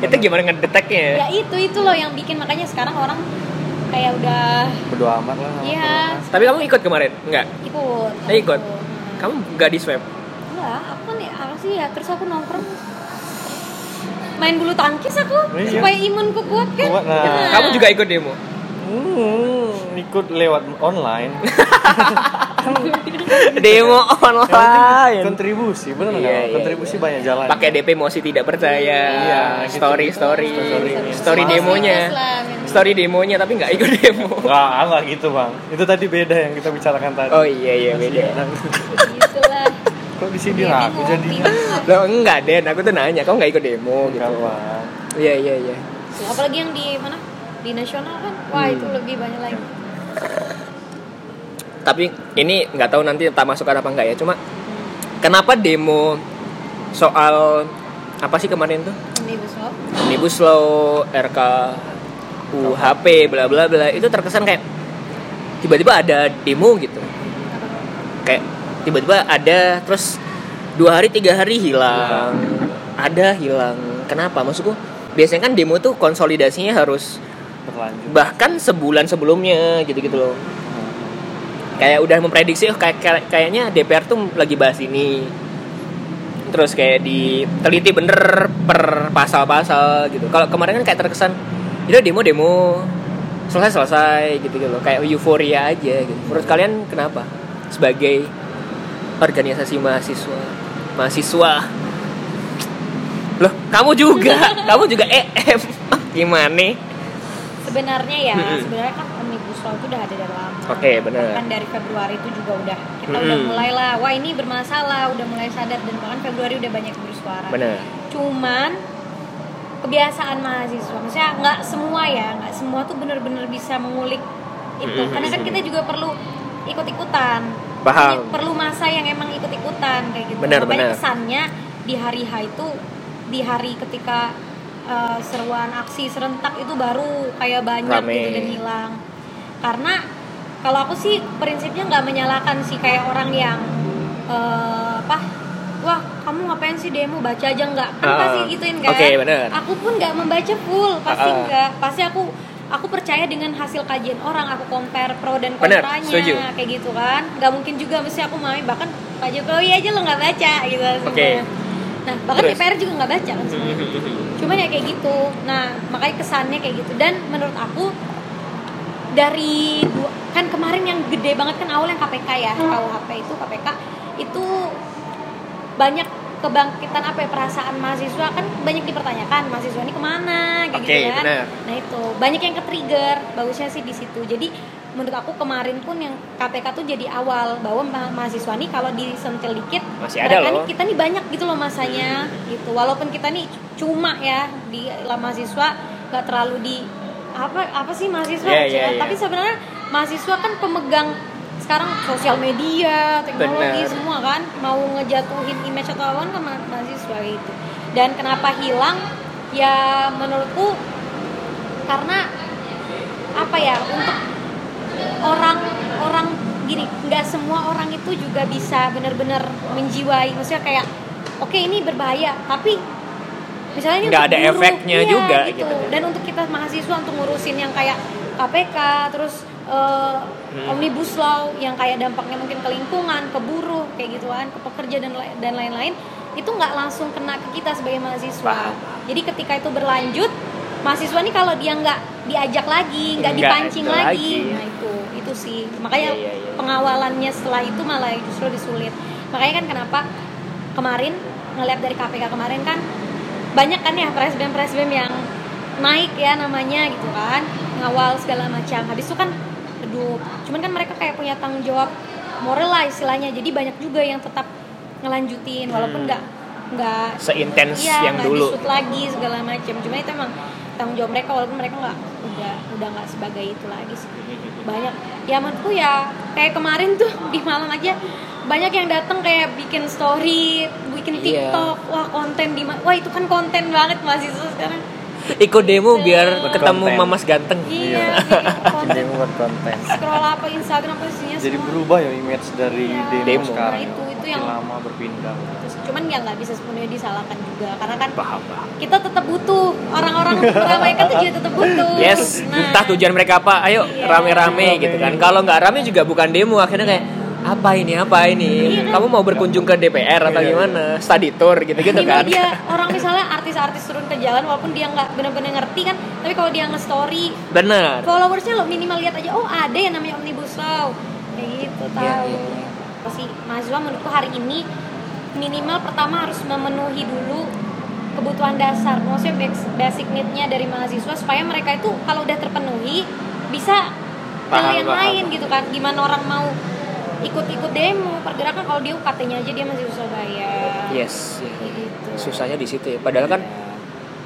Speaker 1: itu gimana
Speaker 2: Eh.
Speaker 3: ya
Speaker 1: ngedeteknya?
Speaker 3: itu itu loh yang bikin makanya sekarang orang kayak udah
Speaker 2: Berdoa amat lah. sama
Speaker 3: Iya.
Speaker 2: corona.
Speaker 1: Tapi kamu ikut kemarin? Enggak.
Speaker 3: ikut
Speaker 1: Eh, ikut. Kamu nggak di swab?
Speaker 3: Enggak, aku nih apa sih ya? Terus aku nongkrong main bulu tangkis aku
Speaker 2: Iya.
Speaker 3: supaya imunku kuat kan.
Speaker 2: Kuat, nah.
Speaker 3: Nah.
Speaker 1: Kamu juga ikut demo?
Speaker 2: Hmm, ikut lewat online.
Speaker 1: demo
Speaker 2: Yang penting
Speaker 1: online.
Speaker 2: kontribusi, bener nggak?
Speaker 1: Iya, iya,
Speaker 2: kontribusi banyak jalan.
Speaker 1: Pakai DP mosi tidak percaya.
Speaker 2: Iya, gitu.
Speaker 1: story story
Speaker 2: Story.
Speaker 1: story
Speaker 3: Sales business
Speaker 1: demonya.
Speaker 3: lah, gitu men.
Speaker 1: Story demonya tapi nggak ikut demo.
Speaker 2: Nggak, nggak gitu bang. Itu tadi beda yang kita bicarakan tadi.
Speaker 1: Oh iya iya beda.
Speaker 2: Nah,
Speaker 3: Gitu lah.
Speaker 2: Kok di sini
Speaker 3: Dia
Speaker 2: ragu
Speaker 3: ngopi.
Speaker 2: jadinya?
Speaker 1: Lo enggak Den, aku tuh nanya, kamu nggak ikut demo gitu.
Speaker 2: Enggak bang.
Speaker 1: Iya iya iya.
Speaker 3: Tuh, Apalagi yang di mana? Di nasional kan. Wah, itu
Speaker 2: Hmm.
Speaker 3: lebih banyak lagi.
Speaker 1: Tapi ini nggak tahu nanti tak masukkan apa enggak ya. Cuma kenapa demo soal apa sih kemarin tuh?
Speaker 3: Omnibus Law.
Speaker 1: Omnibus Law, RK UHP, bla bla bla itu terkesan kayak tiba-tiba ada demo gitu. Kayak tiba-tiba ada terus dua hari tiga hari hilang, ada hilang. Kenapa? Maksudku biasanya kan demo tuh konsolidasinya harus
Speaker 2: Berlanjut.
Speaker 1: bahkan sebulan sebelumnya gitu-gitu loh. Hmm. Kayak udah memprediksi oh, kayak kayak- kayaknya DPR tuh lagi bahas ini. Terus kayak diteliti bener per pasal-pasal gitu. Kalau kemarin kan kayak terkesan itu demo-demo selesai-selesai gitu-gitu loh. Kayak euforia aja gitu. Menurut kalian kenapa? Sebagai organisasi mahasiswa mahasiswa loh kamu juga kamu juga EM gimana nih
Speaker 3: Sebenarnya ya,
Speaker 1: Mm-mm.
Speaker 3: sebenarnya kan Omnibus Law itu udah ada dari lama.
Speaker 1: Hmm. Oke, Hmm. bener.
Speaker 3: Bahkan dari Februari itu juga udah kita udah
Speaker 1: Mm-mm.
Speaker 3: mulailah. Wah, ini bermasalah, udah mulai sadar dan bahkan Februari udah banyak yang bersuara.
Speaker 1: bener
Speaker 3: cuman kebiasaan mahasiswa maksudnya nggak semua ya nggak semua tuh bener-bener bisa mengulik itu
Speaker 1: Mhm.
Speaker 3: karena kan kita juga perlu ikut-ikutan
Speaker 1: Paham.
Speaker 3: Jadi perlu masa yang emang ikut-ikutan kayak gitu
Speaker 1: Benar,
Speaker 3: makanya
Speaker 1: benar.
Speaker 3: kesannya di hari H itu di hari ketika eh, seruan aksi serentak itu baru kayak banyak
Speaker 1: Rame.
Speaker 3: gitu dan hilang karena kalau aku sih prinsipnya nggak menyalahkan sih kayak orang yang eh, apa wah kamu ngapain sih demo baca aja nggak kan
Speaker 1: Ah,
Speaker 3: pasti gituin kan
Speaker 1: oke, benar.
Speaker 3: aku pun nggak membaca full pasti
Speaker 1: Ah, ah.
Speaker 3: nggak pasti aku aku percaya dengan hasil kajian orang aku compare pro dan
Speaker 1: Benar,
Speaker 3: kontranya
Speaker 1: setuju.
Speaker 3: kayak gitu kan nggak mungkin juga mesti aku main bahkan Pak Jokowi aja lo nggak baca gitu
Speaker 1: Oke.
Speaker 3: sebenarnya. nah bahkan
Speaker 1: Terus? Mhm.
Speaker 3: DPR juga nggak baca kan sebenarnya cuman ya kayak gitu nah makanya kesannya kayak gitu dan menurut aku dari dua- kan kemarin yang gede banget kan awal yang KPK ya KUHP itu KPK itu banyak kebangkitan apa ya perasaan mahasiswa kan banyak dipertanyakan mahasiswa ini kemana kayak
Speaker 1: Oke,
Speaker 3: gitu kan
Speaker 1: benar.
Speaker 3: nah itu banyak yang ke-trigger bagusnya sih di situ jadi menurut aku kemarin pun yang KPK tuh jadi awal bahwa ma- mahasiswa nih kalau disentil dikit
Speaker 1: Masih ada
Speaker 3: mereka
Speaker 1: loh.
Speaker 3: nih- kita nih banyak gitu loh masanya gitu walaupun kita nih cuma ya di lah mahasiswa nggak terlalu di apa apa sih mahasiswa
Speaker 1: Iya,
Speaker 3: kecil.
Speaker 1: iya, iya.
Speaker 3: tapi sebenarnya mahasiswa kan pemegang sekarang sosial media
Speaker 1: Benar.
Speaker 3: teknologi semua kan mau ngejatuhin image atau apa kan ma- mahasiswa itu dan kenapa hilang ya menurutku karena apa ya untuk orang orang gini nggak semua orang itu juga bisa benar-benar menjiwai maksudnya kayak oke ini berbahaya tapi misalnya ini
Speaker 1: Nggak
Speaker 3: untuk
Speaker 1: ada
Speaker 3: guru,
Speaker 1: efeknya
Speaker 3: iya,
Speaker 1: juga,
Speaker 3: gitu.
Speaker 1: gitu.
Speaker 3: dan untuk kita mahasiswa untuk ngurusin yang kayak KPK terus eh,
Speaker 1: Hmm.
Speaker 3: omnibus law yang kayak dampaknya mungkin ke lingkungan ke buruh kayak gituan ke pekerja dan lai- dan lain-lain itu nggak langsung kena ke kita sebagai mahasiswa
Speaker 1: Paham.
Speaker 3: jadi ketika itu berlanjut mahasiswa nih kalau dia nggak diajak lagi nggak
Speaker 1: Nggak
Speaker 3: dipancing
Speaker 1: ada
Speaker 3: lagi,
Speaker 1: lagi.
Speaker 3: Nah, itu itu sih makanya
Speaker 1: Iya, iya, iya.
Speaker 3: pengawalannya setelah itu malah justru disulit makanya kan kenapa kemarin ngeliat dari KPK kemarin kan banyak kan ya presbem presbem yang naik ya namanya gitu kan ngawal segala macam habis itu kan redup cuman kan mereka kayak punya tanggung jawab moral lah istilahnya jadi banyak juga yang tetap ngelanjutin walaupun nggak nggak
Speaker 1: seintens
Speaker 3: Iya,
Speaker 1: yang
Speaker 3: nggak
Speaker 1: dulu
Speaker 3: disut lagi segala macam. Cuma itu emang tanggung jawab mereka walaupun mereka nggak udah udah nggak sebagai itu lagi sih banyak ya menurutku ya kayak kemarin tuh di Malang aja banyak yang datang kayak bikin story bikin
Speaker 1: Iya.
Speaker 3: TikTok wah konten di ma- wah itu kan konten banget mahasiswa sekarang
Speaker 1: Ikut demo biar
Speaker 2: Buat
Speaker 1: ketemu
Speaker 2: konten.
Speaker 1: mamas ganteng.
Speaker 3: iya bikin
Speaker 2: jadi
Speaker 3: konten
Speaker 2: buat konten
Speaker 3: scroll apa Instagram pastinya
Speaker 2: jadi berubah ya image dari
Speaker 3: Iya.
Speaker 2: demo,
Speaker 1: Demo.
Speaker 2: sekarang ya.
Speaker 3: Nah, itu- itu
Speaker 2: Makin
Speaker 3: yang-
Speaker 2: lama berpindah
Speaker 3: cuman ya nggak bisa sepenuhnya disalahkan juga karena kan
Speaker 1: Paham, paham.
Speaker 3: kita tetap butuh orang-orang meramaikan tuh juga tetap butuh Nah,
Speaker 1: Yes, entah tujuan mereka apa, ayo
Speaker 3: Iya.
Speaker 1: rame-rame gitu kan. Kalau nggak rame juga bukan demo, akhirnya kayak apa ini apa ini kamu mau berkunjung ke DPR atau
Speaker 2: Iya, iya.
Speaker 1: gimana study tour gitu gitu
Speaker 3: di
Speaker 1: kan
Speaker 3: media orang misalnya artis-artis turun ke jalan walaupun dia nggak bener-bener ngerti kan tapi kalau dia nge-story
Speaker 1: benar
Speaker 3: followersnya lo minimal lihat aja oh ada yang namanya omnibus law kayak gitu tahu
Speaker 1: Iya, iya,
Speaker 3: pasti mahasiswa menurutku hari ini minimal pertama harus memenuhi dulu kebutuhan dasar maksudnya bas- basic need-nya dari mahasiswa supaya mereka itu kalau udah terpenuhi bisa
Speaker 1: Paham,
Speaker 3: pilih yang
Speaker 1: paham.
Speaker 3: lain gitu kan gimana orang mau ikut-ikut demo pergerakan kalau dia UKT-nya aja dia masih Surabaya
Speaker 1: yes iya.
Speaker 3: gitu.
Speaker 1: susahnya di situ ya padahal kan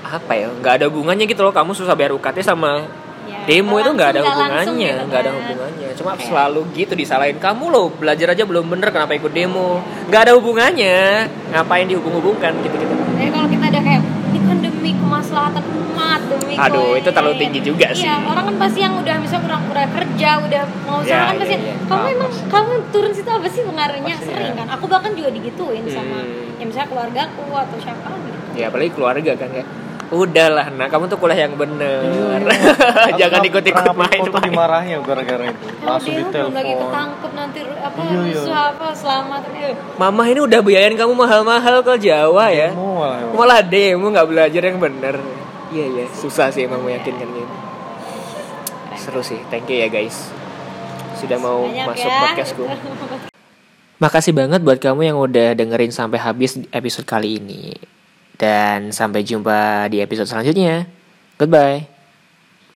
Speaker 1: apa ya nggak ada hubungannya gitu loh kamu susah bayar UKT sama
Speaker 3: Ya,
Speaker 1: demo itu nggak ada
Speaker 3: langsung,
Speaker 1: hubungannya
Speaker 3: langsung gitu
Speaker 1: nggak ada
Speaker 3: kan.
Speaker 1: hubungannya cuma
Speaker 3: Kayak-
Speaker 1: selalu gitu disalahin kamu loh belajar aja belum bener kenapa ikut demo nggak ada hubungannya ngapain dihubung-hubungkan gitu-gitu
Speaker 3: Jadi kalau kita ada kayak ini kan demi kemaslahatan umat, demi
Speaker 1: Aduh,
Speaker 3: kue."
Speaker 1: itu terlalu tinggi juga sih.
Speaker 3: Iya, orang kan pasti yang udah misalnya kurang kurang kerja, udah mau usaha
Speaker 1: Ya,
Speaker 3: kan pasti
Speaker 1: iya, iya.
Speaker 3: kamu
Speaker 2: Apa
Speaker 3: emang kamu turun situ apa sih pengaruhnya
Speaker 2: Pasti,
Speaker 3: sering
Speaker 2: ya.
Speaker 3: kan. Aku bahkan juga digituin sama
Speaker 1: Hmm.
Speaker 3: ya misalnya keluargaku atau siapa gitu.
Speaker 1: ya apalagi keluarga kan kayak udahlah nah kamu tuh kuliah yang bener jangan
Speaker 2: Iya. Aku
Speaker 1: ikut-ikut
Speaker 2: pernah
Speaker 1: main
Speaker 2: foto dimarahin ya gara-gara itu
Speaker 3: Kalau
Speaker 2: langsung
Speaker 3: dia belum lagi
Speaker 2: ditelepon
Speaker 3: ketangkep nanti ru- apa
Speaker 2: Iya, iya.
Speaker 3: rusuh apa selamat eh.
Speaker 1: mama ini udah biayain kamu mahal-mahal ke Jawa ya
Speaker 2: Demo malah ya.
Speaker 1: malah demo nggak belajar yang bener iya iya susah sih emang meyakinkan gitu seru sih thank you ya guys sudah mau
Speaker 3: Banyak
Speaker 1: masuk
Speaker 3: ya.
Speaker 1: podcastku makasih banget buat kamu yang udah dengerin sampai habis episode kali ini dan sampai jumpa di episode selanjutnya goodbye